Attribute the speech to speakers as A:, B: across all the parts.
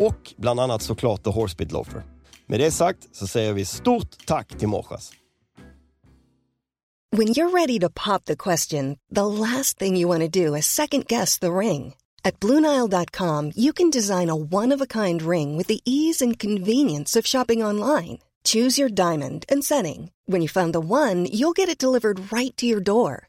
A: Och bland annat såklart The Horsebit Loafer. Med det sagt så säger vi stort tack till Morsas.
B: When you're ready to pop the question, the last thing you want to do is second guess the ring. At Bluenile.com, you can design a one of a kind ring with the ease and convenience of shopping online. Choose your diamond and setting. When you find the one, you'll get it delivered right to your door.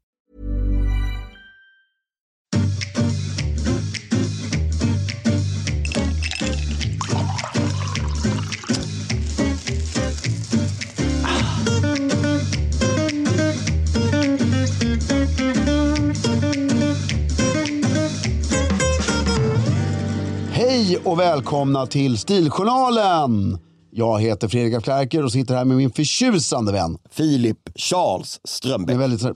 C: Hej och välkomna till Stiljournalen! Jag heter Fredrik af Klerker och sitter här med min förtjusande vän.
A: Filip Charles
C: Med
A: Strömbäck.
C: väldigt så här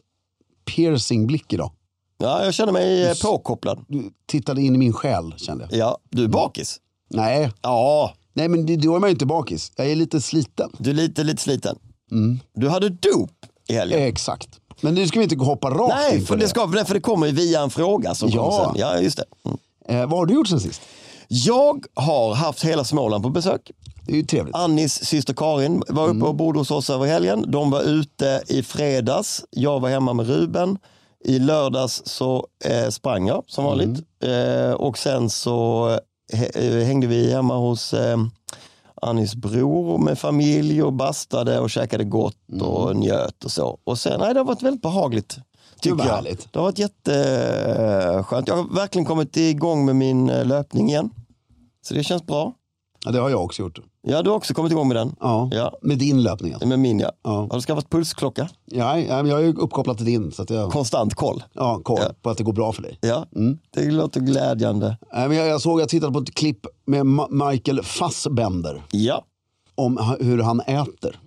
C: piercing blick idag.
A: Ja, jag känner mig eh, påkopplad.
C: Du tittade in i min själ kände jag.
A: Ja, du är bakis?
C: Nej,
A: Ja,
C: nej men det- då är man ju inte bakis. Jag är lite sliten.
A: du är lite, lite sliten. Du hade dop i helgen.
C: Eh, Exakt. Men nu ska vi inte gå och hoppa rakt in
A: Nej,
C: på
A: för det, ska, för det kommer ju via en fråga som
C: Ja.
A: kommer sen. Ja, just det. Mm.
C: Eh, vad har du gjort sen sist?
A: Jag har haft hela Småland på besök.
C: Det är ju trevligt.
A: Annis syster Karin var uppe
C: Mm.
A: och bodde hos oss över helgen. De var ute i fredags. Jag var hemma med Ruben. I lördags så eh, sprang jag som
C: Mm.
A: vanligt. Eh, och sen så he- eh, hängde vi hemma hos eh, Annis bror med familj och bastade och käkade gott
C: Mm.
A: och njöt och så. Och sen, nej, det har varit väldigt behagligt. Tycker
C: var
A: jag.
C: härligt.
A: Det har varit jätteskönt. Jag har verkligen kommit igång med min eh, löpning igen. Så det känns bra.
C: Ja, det har jag också gjort.
A: Ja, du har också kommit igång med den.
C: Ja.
A: Ja.
C: Med din löpning alltså.
A: Med min ja.
C: Ja.
A: Har du skaffat pulsklocka?
C: Ja, ja, men jag är ju uppkopplad till din så att jag
A: Konstant koll.
C: ja, koll
A: Ja.
C: på att det går bra för dig.
A: Ja,
C: Mm.
A: det låter glädjande.
C: Nej, men jag, jag såg, jag tittade på ett klipp med Ma- Michael Fassbender
A: Ja,
C: om h- hur han äter.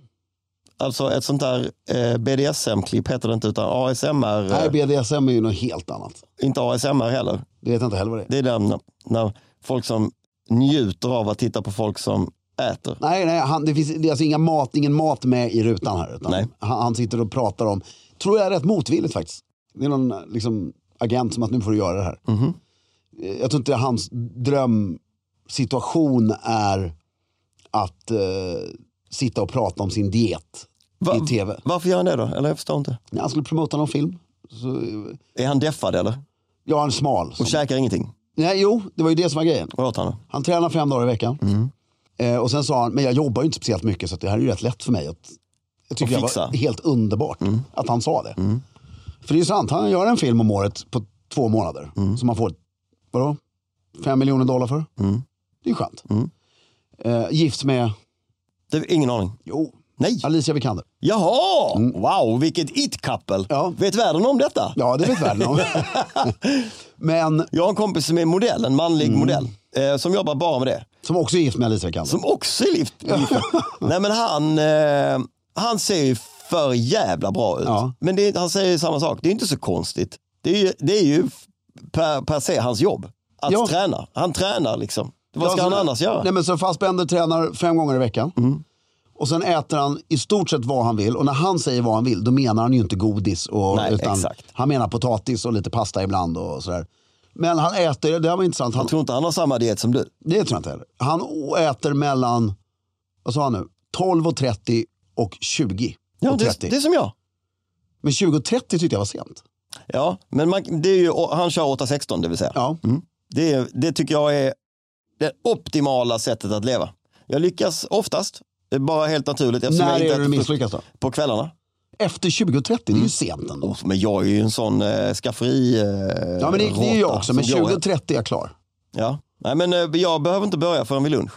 A: alltså ett sånt där eh, BDSM-klipp heter det inte utan ASMR. eh,
C: Nej, BDSM är ju något helt annat.
A: inte ASMR heller.
C: Det vet jag inte heller vad det är.
A: Det är där när, när folk som njuter av att titta på folk som äter.
C: Nej, nej han, det finns det är alltså inga mat, ingen mat med i rutan här. Utan
A: Nej.
C: Han, han sitter och pratar om, tror jag rätt motvilligt faktiskt. Det är någon liksom, agent som att nu får du göra det här. Eh, Jag tror inte hans drömsituation är att eh, sitta och prata om sin diet
A: Va-
C: i tv.
A: Varför gör han det då? Eller jag förstår inte.
C: När han skulle promota någon film. Så,
A: Är han deffad eller?
C: ja, han är smal.
A: Och käkar ingenting?
C: Nej, jo, det var ju det som var grejen.
A: Vad åt han då?
C: Han tränar fem dagar i veckan.
A: Mm.
C: Eh, och sen sa han, men jag jobbar ju inte speciellt mycket så att det här är ju rätt lätt för mig. Att, jag tycker
A: Att
C: det
A: fixa. Mm.
C: var helt underbart att han sa det. För det är ju sant, han gör en film om året på två månader.
A: Mm.
C: Som han får, vadå? Fem miljoner dollar för.
A: Mm.
C: Det är ju skönt. Eh, gift med,
A: Det, ingen aning.
C: jo,
A: Nej.
C: Alicia Vikander.
A: Jaha! Wow, vilket it-couple.
C: Mm. Ja.
A: Vet världen om detta?
C: Ja, det vet världen om. men
A: Jag har en kompis som är modell, en manlig
C: Mm.
A: modell, eh, som jobbar bara med det.
C: som också är gift med Alicia Vikander.
A: Som också är lift. Nej men han, eh, han ser ju för jävla bra ut.
C: Ja.
A: Men det, är- han säger ju samma sak, det är inte så konstigt. Det är ju, det är ju f- per, per se hans jobb, att
C: Ja.
A: träna. Han tränar liksom. Vad ska
C: Ja,
A: han
C: så-
A: annars göra? Mm.
C: Nej, men så Fassbender tränar fem gånger i veckan. Och sen äter han i stort sett vad han vill. Och när han säger vad han vill, då menar han ju inte godis. Och,
A: Nej,
C: utan
A: exakt.
C: Han menar potatis och lite pasta ibland och sådär. Men han äter, det här var intressant, han,
A: Jag tror inte han har samma diet som du.
C: det tror jag inte heller. Han å- äter mellan, vad sa han nu, 12 och 30 och 20
A: Ja,
C: och
A: det,
C: 30.
A: det är som jag.
C: Men 20 och 30 tyckte jag var sent.
A: Ja, men man, det är ju, han kör 8-16 det vill säga.
C: Ja,
A: Det, är- det tycker jag är det optimala sättet att leva. Jag lyckas oftast, det är bara helt naturligt. eftersom
C: när
A: jag inte
C: är det du
A: äter frukt Mm.
C: misslyckas då?
A: På kvällarna. Oh,
C: Efter 20 och 30, det är ju sent ändå.
A: Men jag är ju en sån eh, skafferi eh,
C: Ja, men det, det är ju jag
A: råtta
C: också, men
A: som
C: 20
A: går-
C: och 30 är jag klar.
A: Ja. Nej, men eh, jag behöver inte börja förrän vid lunch.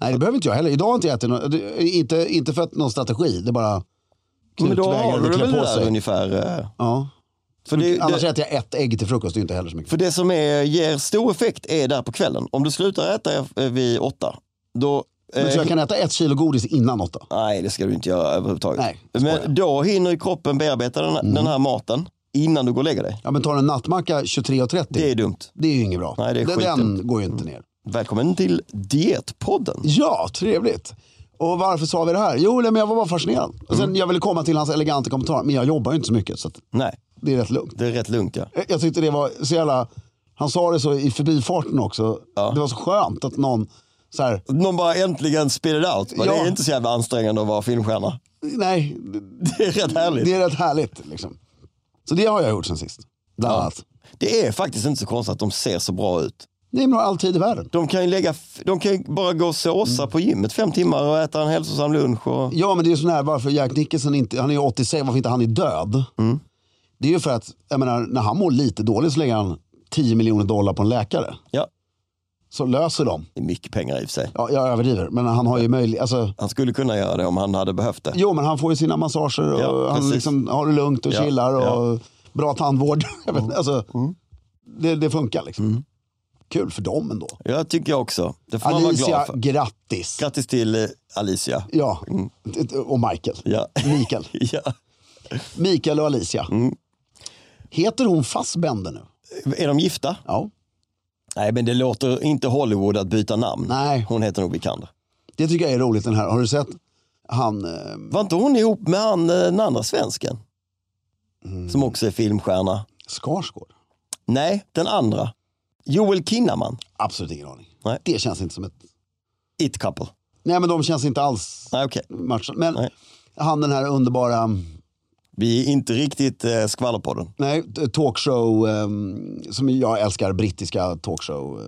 C: Nej, det behöver inte jag heller. Idag har inte jag ätit något, det- inte, inte för att någon strategi, det är bara
A: Men då har
C: knutvägar
A: du
C: och klä
A: väl det
C: på
A: där
C: sig.
A: ungefär. eh,
C: Ja.
A: För det,
C: Annars
A: det,
C: äter jag ett ägg till frukost, det är inte heller så mycket.
A: för det som är, ger stor effekt är där på kvällen. Om du slutar äta eh, vid åtta, då...
C: Men
A: eh,
C: så jag kan äta ett kilo godis innan åtta.
A: Nej, det ska du inte göra överhuvudtaget.
C: Nej, jag skojar.
A: men då hinner ju kroppen bearbeta den,
C: Mm.
A: den här maten innan du går och lägger dig.
C: Ja, men tar en nattmacka 23.30,
A: Det
C: det,
A: är dumt.
C: är ju inget bra.
A: Nej, det är Mm.
C: Den-
A: skitdumt.
C: Den går ju inte ner.
A: Välkommen till Dietpodden.
C: Ja, trevligt. Och varför sa vi det här? Jo, nej, men jag var bara fascinerad. Och
A: Mm.
C: sen, Jag ville komma till hans eleganta kommentar, men jag jobbar ju inte så mycket så att
A: Nej,
C: det är rätt lugnt. Eh,
A: det är rätt lugnt ja.
C: Jag- Jag tyckte det var så jävla, han sa det så i förbifarten också. Det var så skönt att någon så här,
A: Någon bara äntligen spit it out. Bara,
C: Ja.
A: Det är inte så jävla ansträngande att vara filmstjärna.
C: nej,
A: Det är rätt härligt.
C: Det
A: Det...
C: är rätt härligt. Liksom. Så det har jag gjort sen sist. Bland annat.
A: är faktiskt inte så konstigt att de ser så bra ut.
C: Nej, men jag har all tid i världen.
A: De kan ju, lägga, f- de kan ju bara gå och såsa
C: Mm.
A: på gymmet fem timmar och äta en hälsosam lunch. Och...
C: Ja, men det är ju sån här varför Jack Nicholson inte, han är ju 86, varför inte han är död?
A: Mm.
C: Det är ju för att, jag menar, när han mår lite dåligt så lägger han 10 miljoner dollar på en läkare.
A: Ja,
C: Så löser de.
A: det är mycket pengar i och för sig.
C: Ja, jag överdriver, men han har ju möjlighet. Alltså,
A: Han skulle kunna göra det om han hade behövt det.
C: jo, men han får ju sina massager och
A: Ja,
C: han
A: precis.
C: liksom har det lugnt och
A: Ja, Mm.
C: chillar och bra tandvård. Jag vet, inte, alltså, det, det funkar liksom. Kul för dem ändå.
A: Jag tycker jag också. Det får Mm. man vara glad
C: Alicia,
A: för.
C: grattis.
A: Grattis till eh, Alicia.
C: Ja, mm. och Michael.
A: Ja.
C: Mikael.
A: ja.
C: Mikael och Alicia.
A: Mm.
C: Heter hon Fassbender nu?
A: Är de gifta?
C: Ja.
A: Nej, men det låter inte Hollywood att byta namn.
C: Nej.
A: Hon heter nog Vikander.
C: Det tycker jag är roligt den här. Har du sett han? eh,
A: Var inte hon ihop med han, eh, den andra svensken? Som också är filmstjärna.
C: Skarsgård?
A: Nej, den andra. Joel Kinnaman.
C: Absolut ingen aning.
A: Nej.
C: Det känns inte som ett...
A: It couple.
C: Nej men de känns inte alls
A: Nej, okej.
C: matchande. Men
A: Nej.
C: han den här underbara,
A: Vi är inte riktigt eh, skvallerpodden.
C: nej talkshow, eh, som jag älskar, brittiska talkshow. eh.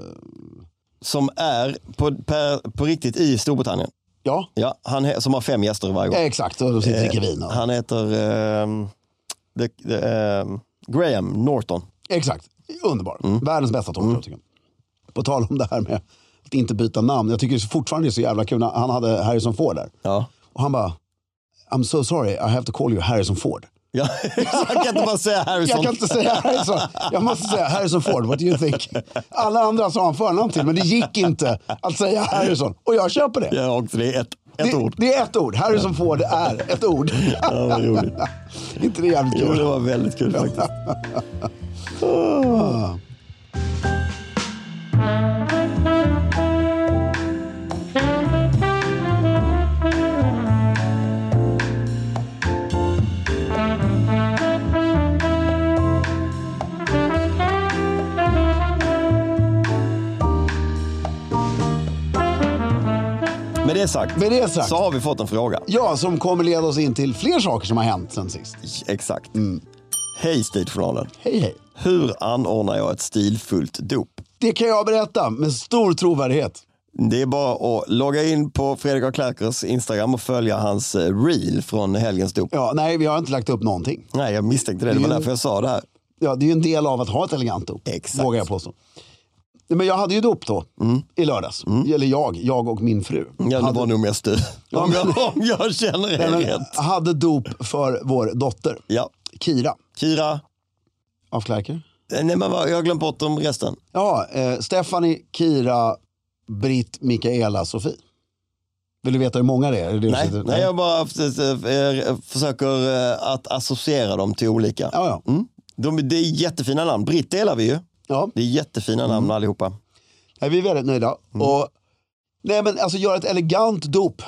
A: Som är på, per, på riktigt i Storbritannien.
C: Ja,
A: Ja, han he- som har fem gäster varje gång.
C: exakt. Och de sitter och dricker vin. och-
A: Eh, Han heter ehm, the, the, ehm, Graham Norton.
C: Exakt, underbar. Världens bästa talkshow tycker jag. På tal om det här med att inte byta namn. Jag tycker fortfarande det är så jävla kul. Han hade Harrison Ford där.
A: Ja.
C: Och han bara, I'm so sorry, I have to call you Harrison Ford.
A: Ja, jag kan inte bara säga Harrison.
C: Jag kan inte säga Harrison. Jag måste säga Harrison Ford, what do you think? Alla andra sa han förnamn till, men det gick inte att säga Harrison. Och jag köper det.
A: Ja, och det är ett, ett
C: det,
A: ord.
C: det är ett ord. Harrison Ford är ett ord.
A: Ja, vad roligt.
C: inte det jävligt
A: Jo, det
C: kul?
A: var väldigt kul faktiskt. det sagt,
C: Med det sagt.
A: så har vi fått en fråga.
C: Ja, som kommer leda oss in till fler saker som har hänt sen sist.
A: Exakt. Hej Stiljournalen.
C: Hej, hej.
A: Hur anordnar jag ett stilfullt dop?
C: Det kan jag berätta med stor trovärdighet.
A: Det är bara att logga in på Fredrik af Klerkers Instagram och följa hans eh, reel från helgens dop.
C: Ja, nej, vi har inte lagt upp någonting.
A: Nej, jag misstänkte det. Det var
C: Mm.
A: därför jag sa det här.
C: Ja, det är ju en del av att ha ett elegant dop,
A: Exakt. Mm.
C: vågar jag påstå. Nej, Men jag hade ju dop då, i lördags. Eller jag, jag och min fru.
A: Ja, det
C: hade,
A: var nog mest du. Om jag, om jag känner er
C: Nej, men,
A: rätt.
C: hade dop för vår dotter,
A: Ja.
C: Kira
A: Kira, Eh,
C: af Klerker.
A: nej, men vad- jag har glömt bort om resten.
C: Ja, eh, Stephanie, Kira, Britt, Mikaela, Sofie. Vill du veta hur många det är? är? det det du
A: Nej,
C: sitter-
A: nej jag bara eh, eh, försöker eh, att associera dem till olika.
C: Ja, ja.
A: De, det är jättefina namn. Britt delar vi ju.
C: ja.
A: Det är jättefina namn
C: Mm.
A: allihopa.
C: Nej, vi är väldigt nöjda.
A: Mm.
C: Och, nej, men alltså göra ett elegant dop.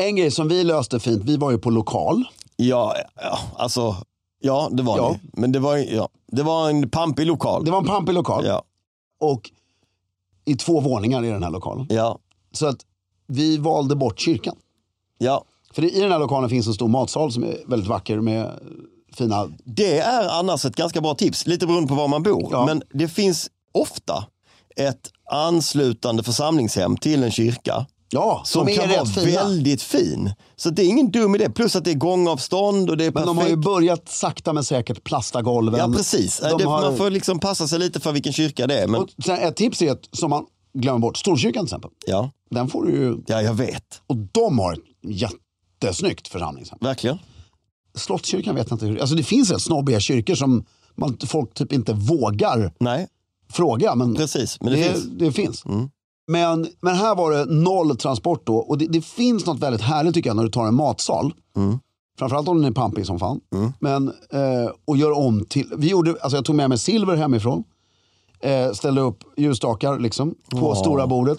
C: En grej som vi löste fint, vi var ju på lokal.
A: Ja, ja alltså, ja det var
C: Ja.
A: det. Men det var, ja, det var en pampig lokal.
C: Det var en pampig lokal
A: Ja,
C: och i två våningar i den här lokalen.
A: ja,
C: Så att vi valde bort kyrkan.
A: ja.
C: För i den här lokalen finns en stor matsal som är väldigt vacker med fina...
A: Det är annars ett ganska bra tips, lite beroende på var man bor.
C: Ja.
A: Men det finns ofta ett anslutande församlingshem till en kyrka
C: Ja,
A: som
C: de är
A: kan vara
C: rätt fina.
A: väldigt fin. Så det är ingen dum idé, plus att det är gångavstånd och det är
C: Men
A: perfekt.
C: de har ju börjat sakta men säkert plasta golven.
A: Ja precis,
C: De
A: det,
C: har...
A: man får liksom passa sig lite för vilken kyrka det är. Men,
C: och sen, ett tips är att, som man glömmer bort, Storkyrkan till exempel.
A: ja.
C: Den får du ju...
A: ja, jag vet.
C: Och de har ett jättesnyggt församlingshem.
A: Verkligen.
C: Slottskyrkan vet jag inte hur... Alltså det finns rätt snobbiga kyrkor som man, folk typ inte vågar
A: Nej,
C: fråga. Men
A: precis. Men det,
C: det,
A: finns. Mm.
C: det finns. Men, men här var det noll transport då. Och det, det finns något väldigt härligt tycker jag när du tar en matsal.
A: Mm.
C: Framförallt om den är pampig som fan. Men, eh, och gör om till... Vi gjorde, alltså jag tog med mig silver hemifrån. Eh, ställde upp ljusstakar liksom, på stora bordet.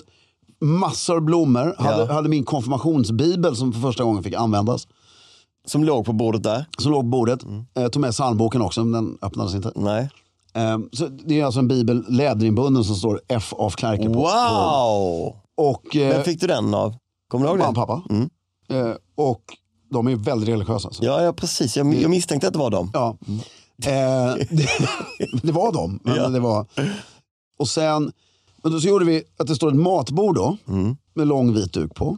C: Massor blommor. Hade, hade min konfirmationsbibel som för första gången fick användas.
A: Som låg på bordet där.
C: Som låg på bordet.
A: Mm.
C: Eh, tog med psalmboken också, men den öppnades inte.
A: Nej.
C: Eh, så det är alltså en bibel, läderinbunden, som står F av Klerker på.
A: Wow!
C: Och, eh,
A: Vem fick du den av? Kommer du ihåg
C: Mamma och
A: det? Mm.
C: pappa. Eh, och de är ju väldigt religiösa. Så.
A: Ja, ja precis. Jag, jag misstänkte att det var dem.
C: Ja. Eh, det, det var de. Men
A: Ja.
C: det var. Och sen men då så gjorde vi att det står ett matbord då,
A: Mm.
C: med lång vit duk på.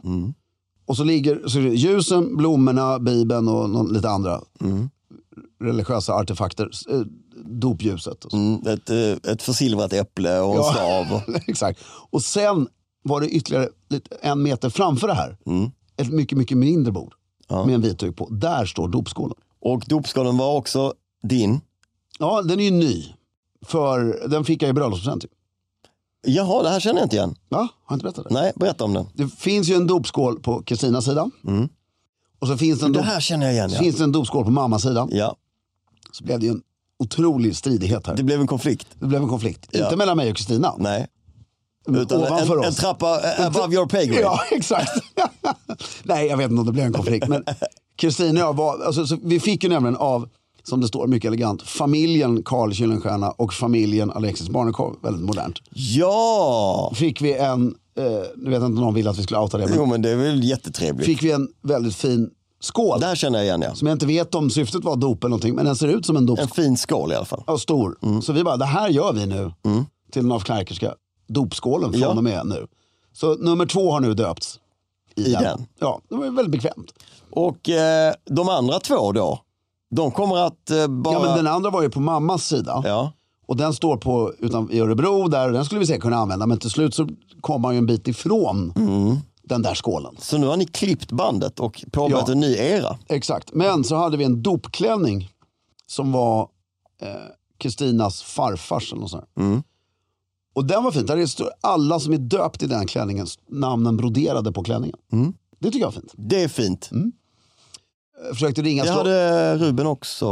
C: Och så ligger så är det ljusen, blommorna, bibeln och någon, lite andra
A: Mm.
C: religiösa artefakter. S- eh, Dopljuset. Och så.
A: Mm, ett, eh, ett försilvrat äpple och en
C: Ja.
A: stav. och-
C: Exakt. Och sen var det ytterligare lite, en meter framför det här.
A: Mm.
C: Ett mycket, mycket mindre bord. Med en vit duk på. Där står dopskålen.
A: Och dopskålen var också din.
C: Ja, den är ju ny. För den fick jag i bröllopspresent. ju.
A: Jaha, det här känner jag inte igen.
C: Va? Har jag inte berättat det?
A: Nej, berätta om den.
C: Det finns ju en dopskål på Kristinas sida. Och så finns det en,
A: Mm. Det
C: dop,
A: här känner jag igen, ja.
C: finns det en dopskål på mammas sida.
A: ja.
C: Så blev det ju en otrolig stridighet här.
A: Det
C: Det,
A: blev en konflikt.
C: blev en konflikt. Inte mellan mig och Kristina.
A: Nej.
C: men
A: Utan
C: ovanför
A: en, en
C: oss.
A: trappa eh, above your pay grade.
C: Ja, exakt. Nej, jag vet inte om det blev en konflikt. Men Kristina och jag var, alltså, så vi fick ju nämligen av, som det står mycket elegant, familjen Carl Gyllenstierna och familjen Alexis Barnekow, väldigt modernt.
A: ja.
C: Fick vi en, eh, nu vet jag inte om någon ville att vi skulle outa det, men
A: Jo, men det är väl jättetrevligt.
C: fick vi en väldigt fin skål.
A: Det här känner jag igen, ja.
C: Som jag inte vet om syftet var dop eller någonting, men den ser ut som en dop.
A: En fin skål i alla fall.
C: Ja, stor.
A: Mm.
C: Så vi bara, det här gör vi nu till den afknarkerska dopskålen från
A: Ja.
C: och med nu. Så nummer två har nu döpts. I,
A: den.
C: Ja, det var ju väldigt bekvämt.
A: Och eh, de andra två då? De kommer att eh, bara...
C: Ja, men den andra var ju på mammas sida.
A: Ja.
C: Och den står på utan, i Örebro där och den skulle vi säkert kunna använda. Men till slut så kom man ju en bit ifrån
A: Mm.
C: den där skålen.
A: Så nu har ni klippt bandet och påbörjat
C: Ja.
A: en ny era.
C: Exakt. Men så hade vi en dopklänning som var eh, Kristinas farfars eller något sånt. där.
A: Mm.
C: Och den var fint. Där står alla som är döpt i den klänningen, namnen broderade på klänningen.
A: Mm.
C: Det tycker jag var fint.
A: Det är fint.
C: Mm. Jag försökte ringa...
A: Det
C: slå-
A: hade Ruben också,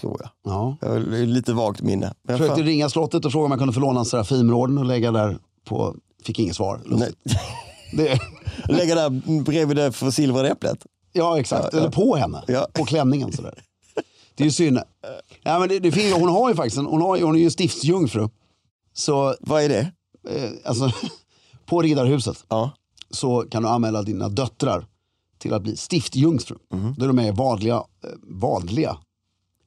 A: tror jag.
C: Ja.
A: Jag har lite vagt minne. Men jag
C: Jag försökte
A: fan-
C: ringa slottet och fråga om jag kunde få låna en Serafimerorden och lägga där på... Fick inget svar.
A: Nej.
C: Lustigt. Det...
A: Lägga där bredvid det försilvrade äpplet.
C: Ja, exakt. Eller på henne.
A: Ja.
C: På klänningen sådär. Det är ju synd. Ja, men det, det finns, hon har ju faktiskt en, hon, har, ju- hon är ju stiftsjungfru. Så
A: Vad är det?
C: eh, alltså, På Riddarhuset
A: Ja.
C: så kan du anmäla dina döttrar till att bli stiftjungfru. Då är de med i vadliga, eh, vadliga,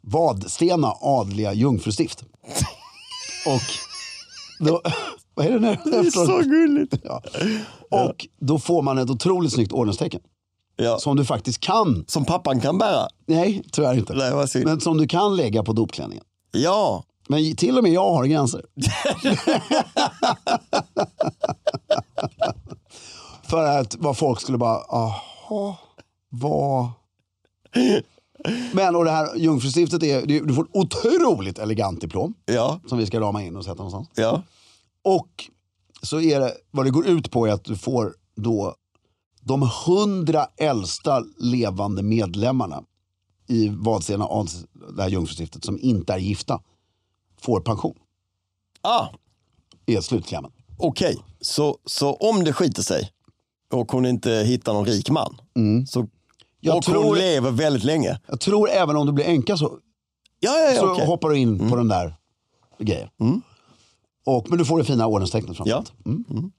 C: Vadstena adliga jungfrustift. Och då, vad är det nu? Det är
A: gulligt.
C: Ja. Och då får man ett otroligt snyggt ordenstecken.
A: Ja.
C: Som du faktiskt kan,
A: Som pappan kan bära.
C: nej tyvärr inte,
A: Nej, vad synd.
C: men som du kan lägga på dopklänningen.
A: Ja.
C: Men till och med jag har gränser. För att vad folk skulle bara, jaha, vad... Men och det här jungfrustiftet, är, det- du får ett otroligt elegant diplom
A: Ja.
C: som vi ska rama in och sätta någonstans.
A: Ja.
C: Och så är det, vad det går ut på är att du får då de hundra äldsta levande medlemmarna i Vadstena ads, det här jungfrustiftet som inte är gifta får pension.
A: Ah,
C: Är slutklämmen.
A: okej. Så, så om det skiter sig och hon inte hittar någon rik man. Så,
C: Mm. Jag
A: och
C: tror-
A: hon lever väldigt länge.
C: Jag tror även om du blir änka så,
A: Ja, ja,
C: så
A: ja. okej. Mm.
C: hoppar du in på den där grejen. Och, men du får det fina ordenstecknet framför
A: Ja.
C: allt. Mm.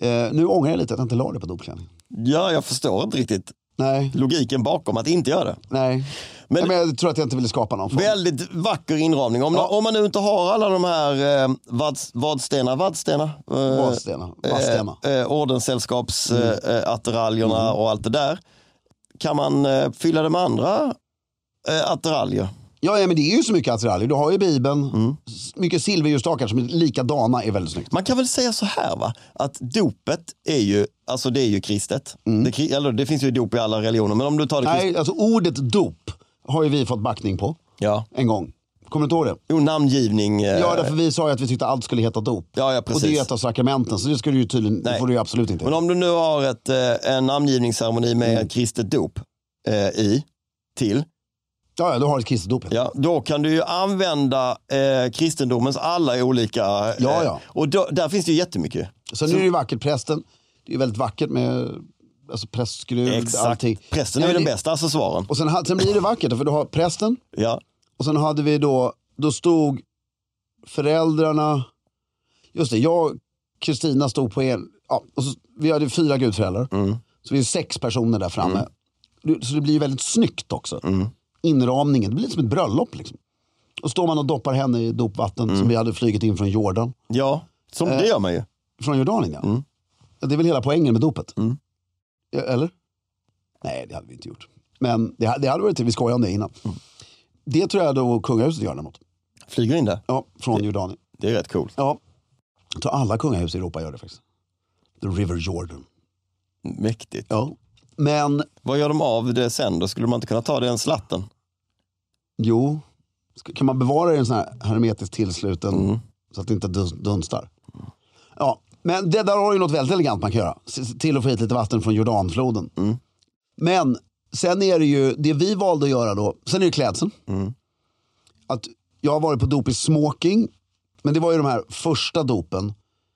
C: Eh, nu ångrar jag lite att jag inte la det på dopklänningen.
A: ja, jag förstår inte riktigt
C: Nej,
A: logiken bakom att inte göra det.
C: nej.
A: Men-
C: Men, men jag tror att jag inte ville skapa någon form.
A: Väldigt vacker inramning. Om, om man nu inte har alla de här eh, vads, vadstena, vadstena, eh,
C: Vadstena, Vadstena. Mm.
A: eh, eh, ordenssällskapsattiraljerna eh, och allt det där. Kan man eh, fylla det med andra eh, attiraljer?
C: Ja, ja, men det är ju så mycket attiraljer. Du har ju Bibeln,
A: Mm.
C: s- mycket silverljusstakar som är likadana är väldigt snyggt.
A: Man kan väl säga så här va, att dopet är ju, alltså det är ju kristet. Det, kri- eller, det finns ju dop i alla religioner, men om du tar det kristet.
C: Mm. Nej, alltså ordet dop har ju vi fått backning på
A: Ja.
C: en gång. Kommer du inte ihåg det?
A: Jo, namngivning. Eh,
C: Ja, därför vi sa ju att vi tyckte allt skulle heta dop.
A: Ja, ja,
C: och
A: precis.
C: det är ju ett av sakramenten, så det, skulle du ju tydligen, det
A: Nej.
C: får du ju absolut inte
A: Men
C: heta.
A: om du nu har ett, eh, en namngivningsceremoni med
C: Mm.
A: ett kristet dop eh, i, till,
C: Ja, ja, du har ett kristet dop.
A: Ja, då kan du ju använda eh, kristendomens alla olika... Eh,
C: Ja, ja.
A: Och då, där finns det ju jättemycket.
C: Sen är det ju vackert, prästen. Det är ju väldigt vackert med alltså, prästskruv, allting.
A: Prästen är
C: Ja,
A: ju
C: men
A: den
C: det-
A: bästa accessoaren.
C: Och sen, ha- sen blir det vackert, för du har prästen
A: Ja.
C: och sen hade vi då, då stod föräldrarna, just det, jag och Kristina stod på en, ja, och så, vi hade fyra gudföräldrar. Så vi är sex personer där framme. Du- Så det blir ju väldigt snyggt också. Inramningen, det blir lite som ett bröllop liksom. Och står man och doppar henne i dopvatten som vi hade flugit in från Jordan.
A: ja, som
C: Eh.
A: det gör man ju.
C: Från Jordanien ja. Ja, Det är väl hela poängen med dopet? Ja, Eller? Nej, det hade vi inte gjort. Men det, ha- det hade varit till, vi skojade om det innan. Det tror jag då kungahuset gör däremot.
A: Flyger in där.
C: Ja, från Jordanien.
A: Det är rätt coolt.
C: Ja. Jag tror alla kungahus i Europa gör det faktiskt. The River Jordan.
A: Mäktigt.
C: Ja. Men,
A: Vad gör de av det sen då? Skulle man inte kunna ta den slatten?
C: jo. ska- Kan man bevara det i en sån här hermetiskt tillsluten så att det inte duns- dunstar? Ja, men det där har ju något väldigt elegant man kan göra. S- Till och få hit lite vatten från Jordanfloden. Men sen är det ju, det vi valde att göra då, sen är det klädseln. Att jag har varit på dop i smoking, men det var ju de här första dopen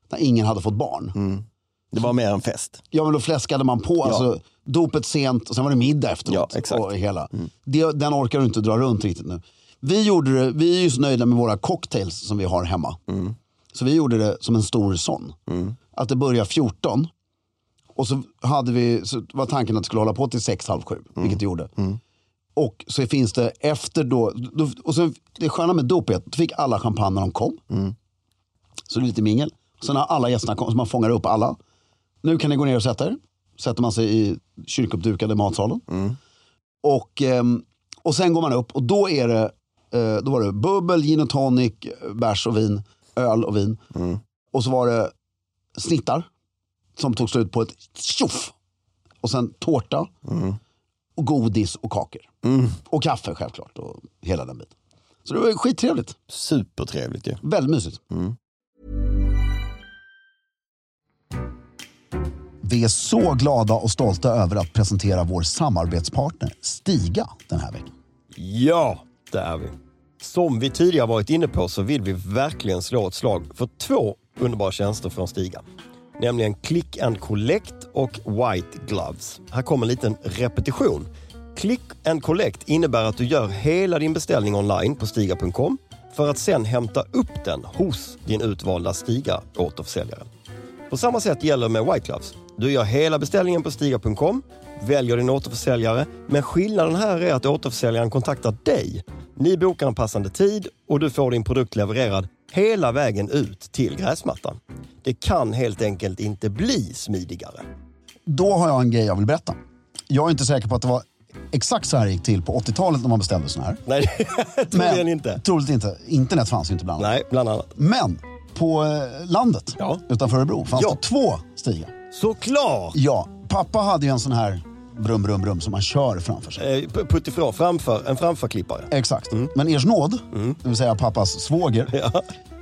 C: när ingen hade fått barn.
A: Det var mer en fest.
C: Ja men då fläskade man på. Alltså, dopet sent och sen var det middag efteråt.
A: Ja, exakt. Mm.
C: Och hela. Det, den orkar du inte dra runt riktigt nu. Vi, gjorde det, vi är ju så nöjda med våra cocktails som vi har hemma.
A: Mm.
C: Så vi gjorde det som en stor sån. Att det börjar 14. Och så, hade vi, så var tanken att det skulle hålla på till 6, halv 7.
A: Mm.
C: Vilket det gjorde. Och så finns det efter då, då och sen, det sköna med dop är att då fick alla champagne när de kom.
A: Mm.
C: Så det är lite mingel. Sen har alla gästerna kommit, så man fångar upp alla. Nu kan ni gå ner och sätta er. Sätter man sig i kyrkuppdukade matsalen. Och, ehm, och sen går man upp och då är det, eh, då var det bubbel, gin och tonic, bärs och vin, öl och vin. Och så var det snittar som tog slut på ett tjoff. Och sen tårta och godis och kakor. Och kaffe självklart och hela den biten. Så det var skittrevligt.
A: Supertrevligt ju.
C: Väldigt mysigt.
A: Mm.
C: Vi är så glada och stolta över att presentera vår samarbetspartner Stiga den här veckan.
A: Ja, det är vi. Som vi tidigare varit inne på så vill vi verkligen slå ett slag för två underbara tjänster från Stiga. Nämligen Click and Collect och White Gloves. Här kommer en liten repetition. Click and Collect innebär att du gör hela din beställning online på stiga.com för att sen hämta upp den hos din utvalda Stiga-återförsäljare. På samma sätt gäller med White Gloves. Du gör hela beställningen på Stiga.com, väljer din återförsäljare, men skillnaden här är att återförsäljaren kontaktar dig. Ni bokar en passande tid och du får din produkt levererad hela vägen ut till gräsmattan. Det kan helt enkelt inte bli smidigare.
C: Då har jag en grej jag vill berätta. Jag är inte säker på att det var exakt så här det gick till på 80-talet när man beställde sådana här.
A: Nej, troligen inte.
C: Troligt inte. Internet fanns ju inte bland annat.
A: Nej, bland annat.
C: Men på eh, landet
A: Ja.
C: utanför Örebro fanns
A: Ja.
C: det två stigar.
A: Såklart!
C: Ja, pappa hade ju en sån här brum, brum, brum som man kör framför sig.
A: Eh, p- Puttifrån, framför, en framförklippare.
C: Exakt. Men Ers nåd, det vill säga pappas svåger,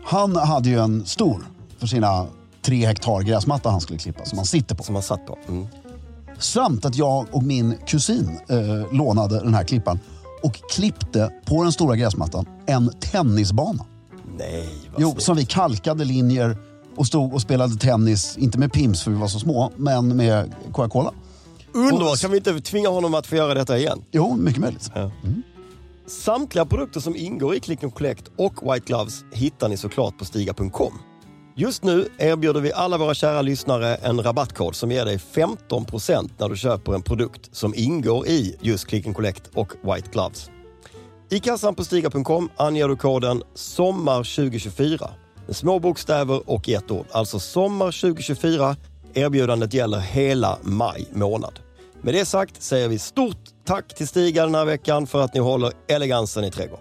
C: han hade ju en stor för sina tre hektar gräsmatta han skulle klippa som han sitter på.
A: Som man satt på. Mm.
C: Samt att jag och min kusin eh, lånade den här klippan och klippte på den stora gräsmattan en tennisbana.
A: Nej, vad
C: Jo,
A: snyggt.
C: som vi kalkade linjer och stod och spelade tennis, inte med pims för vi var så små, men med Coca-Cola.
A: Underbart! Kan vi inte tvinga honom att få göra detta igen?
C: Jo, mycket möjligt.
A: Samtliga produkter som ingår i Click and Collect och White Gloves hittar ni såklart på Stiga.com. Just nu erbjuder vi alla våra kära lyssnare en rabattkod som ger dig 15% när du köper en produkt som ingår i just Click and Collect och White Gloves. I kassan på Stiga.com anger du koden SOMMAR2024 med små bokstäver och i ett ord. Alltså SOMMAR2024. Erbjudandet gäller hela maj månad. Med det sagt säger vi stort tack till Stiga den här veckan för att ni håller elegansen i trädgården.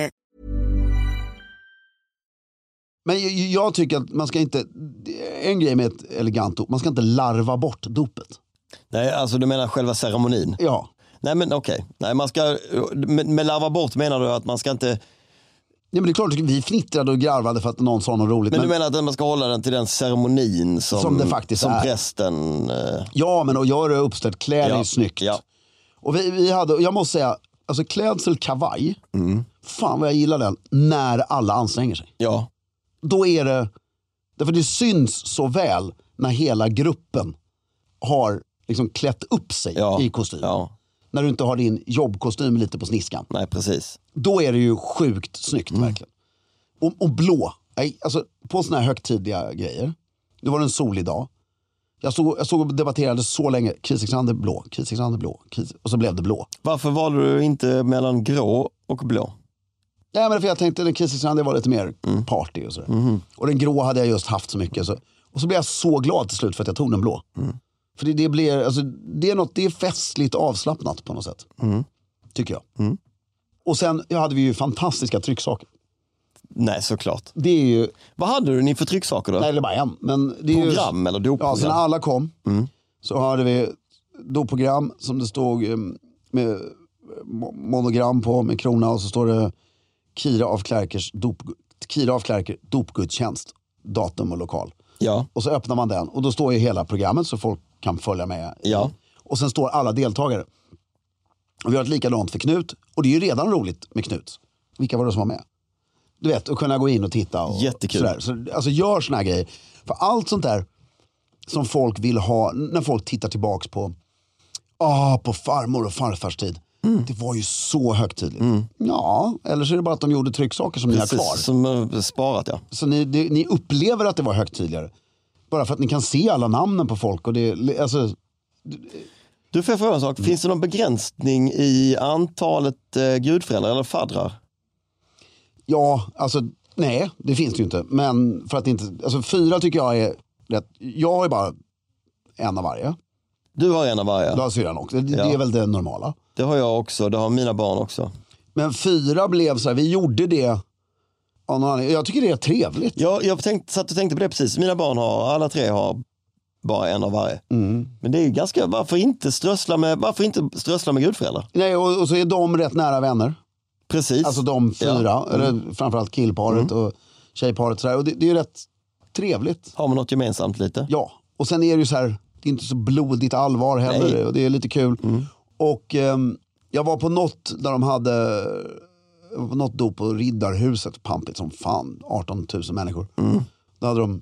C: Men jag, jag tycker att man ska inte, en grej med ett elegant dop, man ska inte larva bort dopet.
A: Nej, alltså du menar själva ceremonin?
C: Ja,
A: Nej, men okej. Nej, man ska... Med, med larva bort menar du att man ska inte...
C: Nej, men det är klart att vi fnittrade och garvade för att någon sa något roligt.
A: Men,
C: Men,
A: du menar att man ska hålla den till den ceremonin som,
C: Som det faktiskt
A: som
C: är.
A: prästen... eh,
C: Ja, men och gör det uppställt, klä dig
A: Ja,
C: snyggt.
A: ja.
C: Och vi, vi hade, och jag måste säga, alltså klädsel, kavaj,
A: Mm.
C: fan vad jag gillar den, när alla anstränger sig.
A: Ja,
C: Då är det, därför det syns så väl när hela gruppen har liksom klätt upp sig
A: ja.
C: i kostym.
A: Ja,
C: När du inte har din jobbkostym lite på sniskan.
A: nej precis.
C: Då är det ju sjukt snyggt verkligen. Och, och blå. Nej, Alltså, på såna här högtidliga grejer. Det var en solig dag. Jag såg, jag såg och debatterade så länge. Kristiansand är blå, Kristiansand är blå. Kris... Och så blev det blå.
A: Varför valde du inte mellan grå och blå?
C: Nej, men för jag tänkte den Kristiansand det var lite mer party och sådär. Och den grå hade jag just haft så mycket. Så... Och så blev jag så glad till slut för att jag tog den blå. För det, det blir, alltså, det är något, det är festligt avslappnat på något sätt. Tycker jag. Och sen ja, hade vi ju fantastiska trycksaker.
A: Nej, såklart.
C: Det är ju
A: Vad hade du ni för trycksaker då?
C: Nej, det är bara en. Men det är ju-
A: Program Mm. eller
C: Ja,
A: dopprogram?
C: så när alla kom så hade vi då program som det stod eh, med mo- monogram på med krona och så står det Kira af Klerkers dop, Kira af Klerker dopgudstjänst, datum och lokal.
A: ja.
C: Och så öppnar man den och då står ju hela programmet så folk kan följa med.
A: Ja.
C: Och sen står alla deltagare. Och vi har ett likadant för Knut och det är ju redan roligt med Knut. Vilka var det som var med? Du vet, att kunna gå in och titta. Och
A: Jättekul.
C: Sådär. Så, alltså gör såna här grejer. För allt sånt där som folk vill ha, när folk tittar tillbaks på, ah, på farmor och farfars tid.
A: Mm.
C: Det var ju så högtidligt. Ja, eller så är det bara att de gjorde trycksaker som ni har kvar.
A: Precis, som eh, sparat ja.
C: Så ni, det, ni upplever att det var högtidligare. Bara för att ni kan se alla namnen på folk. Och det, alltså,
A: Du får jag fråga en
C: Mm.
A: sak, finns det någon begränsning i antalet eh, gudföräldrar eller faddrar?
C: ja, alltså nej, det finns det ju inte. Men för att inte, alltså fyra tycker jag är rätt. Jag har ju bara en av varje.
A: Du har en av varje.
C: Då har syrran också. Det,
A: Ja.
C: det är väl det normala.
A: Det har jag också, det har mina barn också.
C: Men fyra blev så här, vi gjorde det av någon anledning. Jag tycker det är trevligt.
A: Jag, jag tänkte, satt och tänkte på det precis, mina barn har, alla tre har bara en av varje.
C: Mm.
A: Men det är ju ganska, varför inte strössla med, varför inte strössla med gudföräldrar?
C: Nej, och, och så är de rätt nära vänner.
A: Precis.
C: Alltså de fyra, eller framförallt killparet och tjejparet. Så där. Och det, det är ju rätt trevligt.
A: Har man något gemensamt lite?
C: Ja, och sen är det ju så här, det är inte så blodigt allvar heller
A: Nej.
C: och det är lite kul. Och ehm, jag var på något där de hade, jag var på något dop på Riddarhuset, pampigt som fan, 18 000 människor. Mm. Då hade de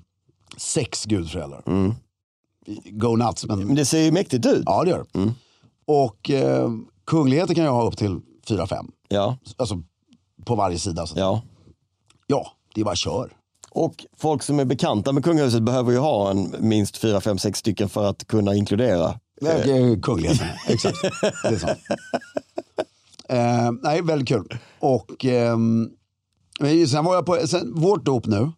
C: sex gudföräldrar. Go nuts, men
A: Men det ser ju mäktigt ut.
C: ja det gör det. Och eh, kungligheter kan jag ha upp till 4-5,
A: Ja.
C: alltså på varje sida. Så. Ja.
A: ja.
C: det är bara kör.
A: Och folk som är bekanta med kungahuset behöver ju ha en minst fyra, fem, sex stycken för att kunna inkludera.
C: Nej, eh, Kungligheten, exakt. Det är sant. Eh, nej, väldigt kul. Och ehm, men sen var jag på, sen, vårt dop nu,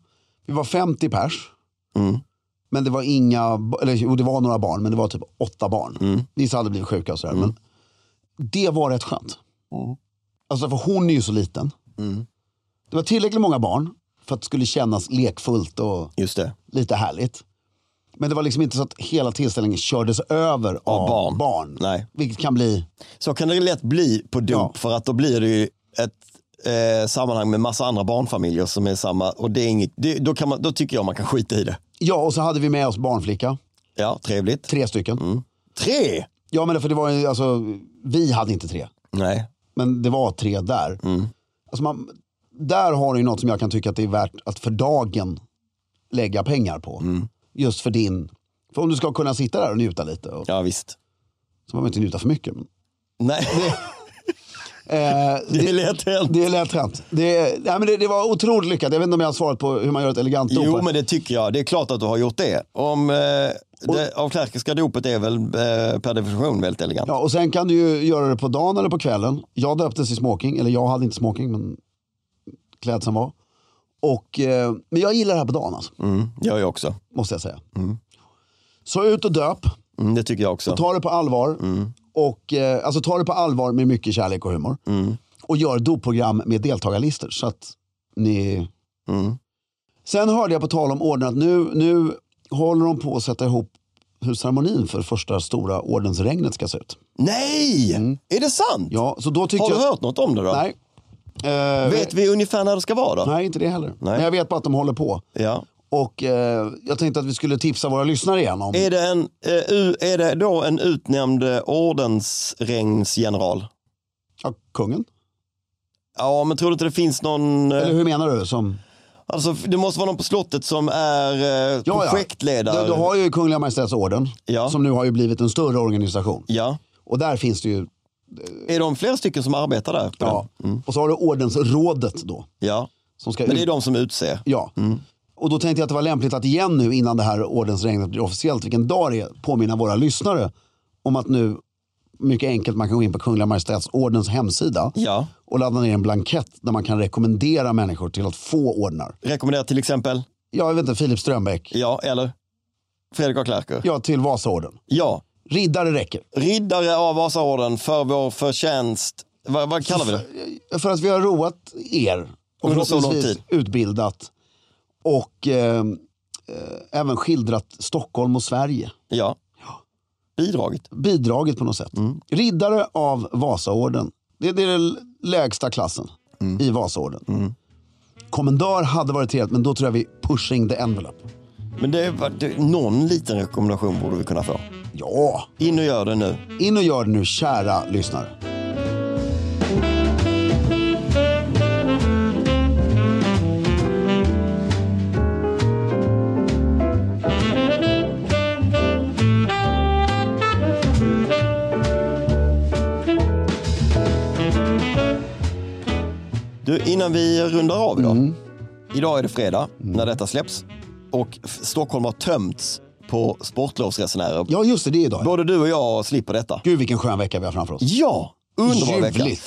C: vi var 50 pers. Mm. Men det var inga, eller jo, det var några barn, men det var typ åtta barn. Vissa hade blivit sjuka och sådär. Men det var rätt skönt. Alltså för hon är ju så liten. Mm. Det var tillräckligt många barn för att det skulle kännas lekfullt och
A: Just det.
C: lite härligt. Men det var liksom inte så att hela tillställningen kördes över av,
A: barn.
C: barn.
A: Nej.
C: Vilket kan bli,
A: Så kan det lätt bli på dop
C: Ja.
A: för att då blir det ju ett eh, sammanhang med massa andra barnfamiljer som är samma. Och det är inget, det, då, kan man, då tycker jag man kan skita i det.
C: ja och så hade vi med oss barnflicka,
A: Ja, trevligt.
C: tre stycken.
A: Mm. Tre!
C: Ja men för det var ju, alltså, vi hade inte tre,
A: Nej,
C: men det var tre där.
A: Mm.
C: Alltså man, där har du ju något som jag kan tycka att det är värt att för dagen lägga pengar på.
A: Mm.
C: Just för din, för om du ska kunna sitta där och njuta lite, och,
A: ja visst.
C: så behöver man inte njuta för mycket. Men,
A: Nej,
C: eh,
A: det är lätt hänt.
C: Det är lätt hänt. Det, nej, men det, det var otroligt lyckat. Jag vet inte om jag har svarat på hur man gör ett elegant dop.
A: Jo,
C: här.
A: men det tycker jag. Det är klart att du har gjort det. Om, eh, det avklerkiska dopet är väl eh, per definition väldigt elegant.
C: Ja, och sen kan du ju göra det på dagen eller på kvällen. Jag döptes i smoking, eller jag hade inte smoking men klädseln var. Och, eh, men jag gillar det här på dagen alltså,
A: Mm, gör jag också.
C: måste jag säga. Så ut och döp,
A: Mm, det tycker jag också.
C: ta det på allvar.
A: Mm.
C: Och, eh, alltså ta det på allvar med mycket kärlek och humor.
A: Mm.
C: Och gör dopprogram med deltagarlistor så att ni
A: Mm.
C: Sen hörde jag på tal om ordnat, nu, nu håller de på att sätta ihop hur ceremonin för första stora ordensregnet ska se ut.
A: Nej! Är det sant?
C: Ja, så då tyckte
A: Har du
C: Mm. jag...
A: hört något om det då?
C: Nej. Eh,
A: Vet vi ungefär när det ska vara då?
C: Nej, inte det heller. Men jag vet bara att de håller på.
A: Ja.
C: Och eh, jag tänkte att vi skulle tipsa våra lyssnare igen om...
A: Är, det en, eh, u- är det då en utnämnd eh, ordensregnsgeneral?
C: Ja, kungen?
A: Ja, men tror du inte det finns någon... eh,
C: Eller hur menar du? Som...
A: Alltså, det måste vara någon på slottet som är eh,
C: Ja, ja.
A: projektledare.
C: Du, du har ju Kungliga Majestätsorden,
A: Ja.
C: som nu har ju blivit en större organisation.
A: Ja.
C: Och där finns det ju...
A: Är de flera stycken som arbetar där? på
C: Ja. Och så har du Ordensrådet då.
A: den? ja.
C: Som ska
A: Mm. Men det är Mm. de som utser.
C: Ja. Och då tänkte jag att det var lämpligt att igen nu innan det här ordensregnet blir officiellt, vilken dag det är, påminna våra lyssnare om att nu mycket enkelt man kan gå in på Kungliga Majestätsordens hemsida
A: Ja.
C: och ladda ner en blankett där man kan rekommendera människor till att få ordnar.
A: Rekommenderar till exempel,
C: Ja, jag vet inte, Filip Strömbäck.
A: ja, eller Fredrik af Klerker.
C: Ja, till Vasaorden.
A: ja.
C: Riddare räcker.
A: Riddare av Vasaorden för vår förtjänst. Vad, vad kallar vi det?
C: För att vi har roat er och
A: Under så lång
C: förhoppningsvis utbildat och eh, eh, även skildrat Stockholm och Sverige.
A: Ja. Bidragit.
C: bidragit på något sätt.
A: Mm.
C: Riddare av Vasaorden. Det, det är den lägsta klassen
A: Mm.
C: i Vasaorden. Kommendör hade varit trevligt, men då tror jag vi pushing the envelope.
A: Men det, var- det, någon liten rekommendation borde vi kunna få.
C: Ja,
A: In och gör det nu.
C: in och gör det nu kära lyssnare.
A: Du, innan vi rundar av idag.
C: Mm.
A: Idag är det fredag när detta släpps och F- Stockholm har tömts på sportlovsresenärer.
C: Ja, just det, det är idag.
A: Både du och jag slipper detta.
C: Gud vilken skön vecka vi har framför oss.
A: Ja, underbar vecka.
C: Ljuvligt.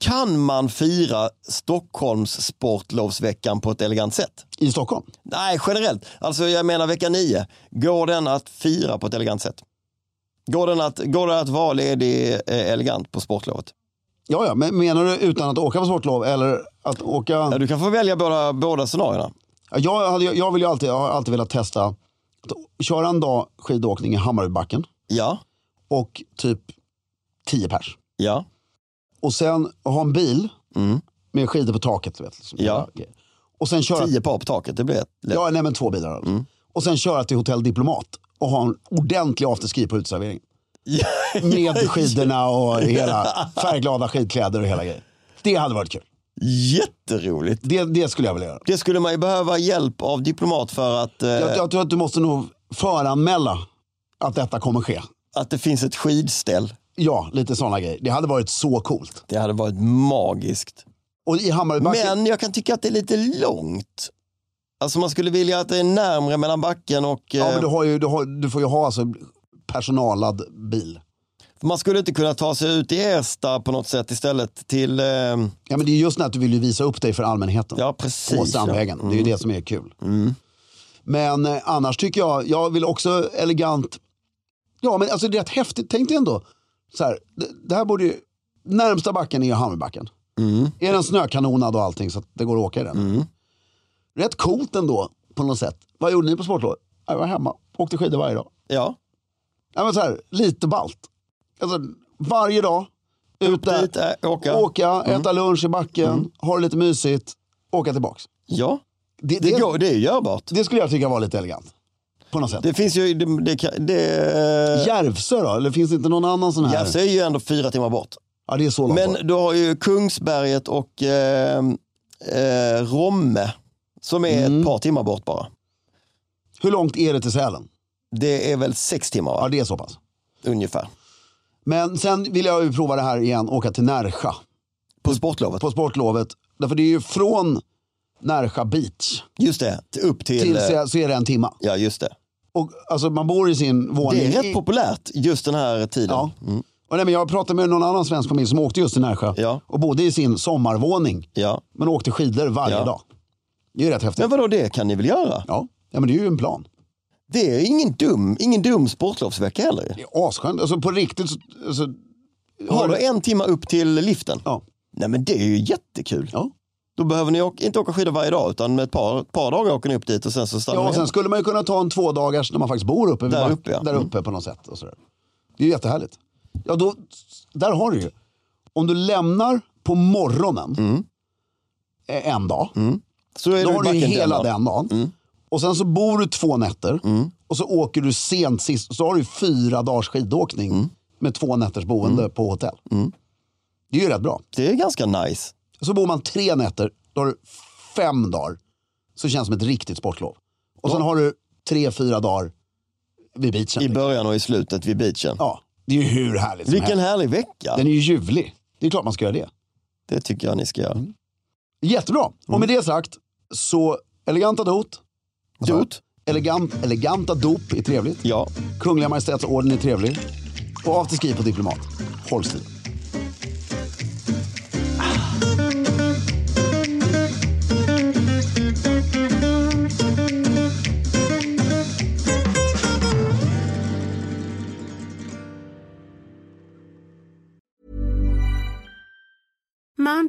A: Kan man fira Stockholms sportlovsveckan på ett elegant sätt?
C: I Stockholm?
A: Nej, generellt. Alltså jag menar vecka nio. Går den att fira på ett elegant sätt? Går, den att, går det att vara ledig eh, elegant på sportlovet?
C: Ja, ja, men menar du utan att åka på sportlov eller att åka?
A: Ja, du kan få välja båda, båda scenarierna.
C: Ja, Jag, hade, jag, vill ju alltid, jag har alltid velat testa att köra en dag skidåkning i Hammarbybacken
A: Ja,
C: och typ 10 pers.
A: ja,
C: och sen ha en bil
A: Mm.
C: med skidor på taket. du Vet, liksom.
A: Ja.
C: Och sen köra...
A: Tio Mm. par på taket, det blir ett. lätt.
C: Ja, nej men två bilar. alltså. Och sen köra till Hotell Diplomat och ha en ordentlig afterski på uteserveringen. Med skidorna och hela färgglada skidkläder och hela grejen. Det hade varit kul.
A: Jätteroligt.
C: Det, det skulle jag vilja göra.
A: Det skulle man ju behöva hjälp av diplomat för att, eh,
C: Jag, jag tror att du måste nog föranmäla att detta kommer ske.
A: att det finns ett skidställ.
C: Ja, lite sådana grejer. Det hade varit så coolt.
A: Det hade varit magiskt.
C: Och i Hammarbybacken,
A: Men jag kan tycka att det är lite långt. Alltså man skulle vilja att det är närmre mellan backen och...
C: ja,
A: eh,
C: men du, har ju, du, har, du får ju ha alltså personalad bil.
A: eh, Man skulle inte kunna ta sig ut i Ersta på något sätt istället till... Eh,
C: Ja, men det är just när att du vill ju visa upp dig för allmänheten.
A: ja, precis.
C: på
A: ja. Mm.
C: Strandvägen. Det är ju det som är kul. Men eh, annars tycker jag, jag vill också elegant, ja men alltså det är rätt häftigt, tänk dig ändå, så här, det, det här borde ju, närmsta backen är ju Hammarbybacken.
A: Mm.
C: Är den snökanonad och allting så att det går att åka i den. Rätt coolt ändå på något sätt. Vad gjorde ni på sportlov? Jag var hemma, åkte skidor varje dag.
A: Ja,
C: Ja, men så här, lite balt. Alltså, varje dag, ut där,
A: dit, ä, åka. Mm.
C: åka, äta lunch i backen, ha det lite mysigt, åka tillbaks.
A: Ja,
C: Det,
A: det,
C: det-
A: går, det är görbart.
C: det skulle jag tycka var lite elegant. På något sätt.
A: Det finns ju... Det, det, kan- det,
C: Järvsö då? Eller finns det inte någon annan sån här?
A: Järvsö är ju ändå fyra timmar bort.
C: Ja, det är så långt bort.
A: Men du har ju Kungsberget och eh, eh, Romme som är ett par timmar bort bara.
C: Hur långt är det till Sälen?
A: Det är väl sex timmar
C: Ja,
A: va?
C: det är så pass.
A: ungefär.
C: Men sen vill jag ju prova det här igen, åka till Närsja.
A: På sportlovet.
C: På sportlovet. Därför det är ju från Närsja beach
A: Just det, upp till...
C: till
A: eh,
C: Sä- så är det en timma.
A: ja, just det.
C: Och alltså man bor i sin våning.
A: Det är
C: i-
A: rätt populärt just den här tiden.
C: Ja. Och nej, men jag pratade med någon annan svensk familj som åkte just till Närsjö
A: Ja.
C: och bodde i sin sommarvåning.
A: Ja.
C: Men åkte skidor varje
A: Ja.
C: dag. Det är ju rätt häftigt.
A: Men vadå, det kan ni väl göra?
C: Ja. ja, men det är ju en plan.
A: Det är ingen dum, ingen dum sportlovsvecka heller.
C: Det är asskönt. Alltså på riktigt så... Alltså,
A: Har du en timma upp till liften?
C: Ja.
A: Nej men det är ju jättekul.
C: Ja.
A: Då behöver ni åka, inte åka skidor varje dag utan med ett par, ett par dagar åker ni upp dit och sen så stannar
C: ja,
A: ni
C: och sen skulle man ju kunna ta en två dagars när man faktiskt bor uppe. vid
A: Där
C: back-
A: uppe, ja.
C: där
A: Mm.
C: uppe på något sätt. Och sådär. Det är ju jättehärligt. Ja, då, där har du ju. Om du lämnar på morgonen eh, en dag.
A: Så Mm. är
C: Då
A: du
C: har
A: i
C: du ju
A: backen Mm.
C: hela
A: dagen.
C: den dagen. Och sen så bor du två nätter.
A: Mm.
C: Och så åker du sent sist. Så har du fyra dagars skidåkning.
A: Mm.
C: Med två nätters boende på hotell. Det är ju rätt bra.
A: Det är ganska nice.
C: Så bor man tre nätter, då har du fem dagar. Så känns det som ett riktigt sportlov. Och sen har du tre, fyra dagar vid beachen.
A: I
C: liksom.
A: början och i slutet vid beachen.
C: Ja, det är ju hur härligt som
A: Vilken
C: helst.
A: härlig vecka.
C: Den är ju ljuvlig. Det är klart man ska göra det.
A: Det tycker jag ni ska göra.
C: Jättebra.
A: Mm.
C: Och med det sagt, så eleganta dot.
A: Dot?
C: Elegant, eleganta dop är trevligt.
A: Ja.
C: Kungliga Majestätsorden är trevlig. Och afterski på diplomat. Håll stilen.
D: Mom